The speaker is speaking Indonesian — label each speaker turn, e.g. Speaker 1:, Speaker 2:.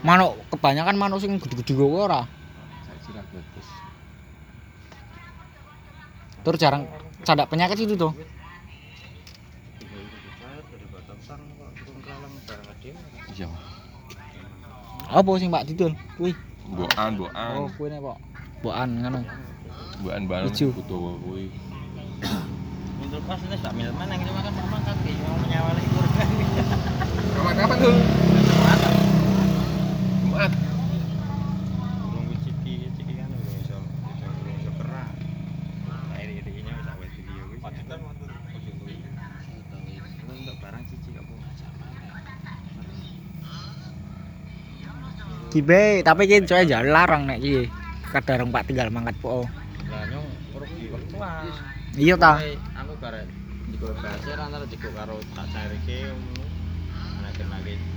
Speaker 1: manuk kebanyakan manuk sing gede-gede kok ora
Speaker 2: Saya kira bagus.
Speaker 1: tur jarang cadak penyakit itu tuh
Speaker 3: Tiga itu dicat dari Batang kok turun kalang barang ada.
Speaker 2: Iya.
Speaker 1: apa sing Pak Didul kuwi
Speaker 2: Mbokan, mbokan.
Speaker 1: oh kuwi nek kok bokan ngono
Speaker 2: Mbokan barang
Speaker 1: Ijo.
Speaker 2: butuh kuwi.
Speaker 3: Untuk pas ini tak milih mana kita makan sama kaki mau menyawali kurban.
Speaker 2: Kapan kapan tuh? Jumat.
Speaker 3: Burung ciki ciki kan udah bisa bisa burung bisa kerak. Nah ini ininya bisa wes video gue. Patut kan patut. Kalau untuk barang cici gak mau
Speaker 1: kibe tapi ki coy jalan larang nek ki kadarung Pak tinggal mangkat po
Speaker 3: Lah nyong rugi waktuan.
Speaker 1: iya ta
Speaker 3: Aku karek jiko bahasa antara jiko karo tak cari ke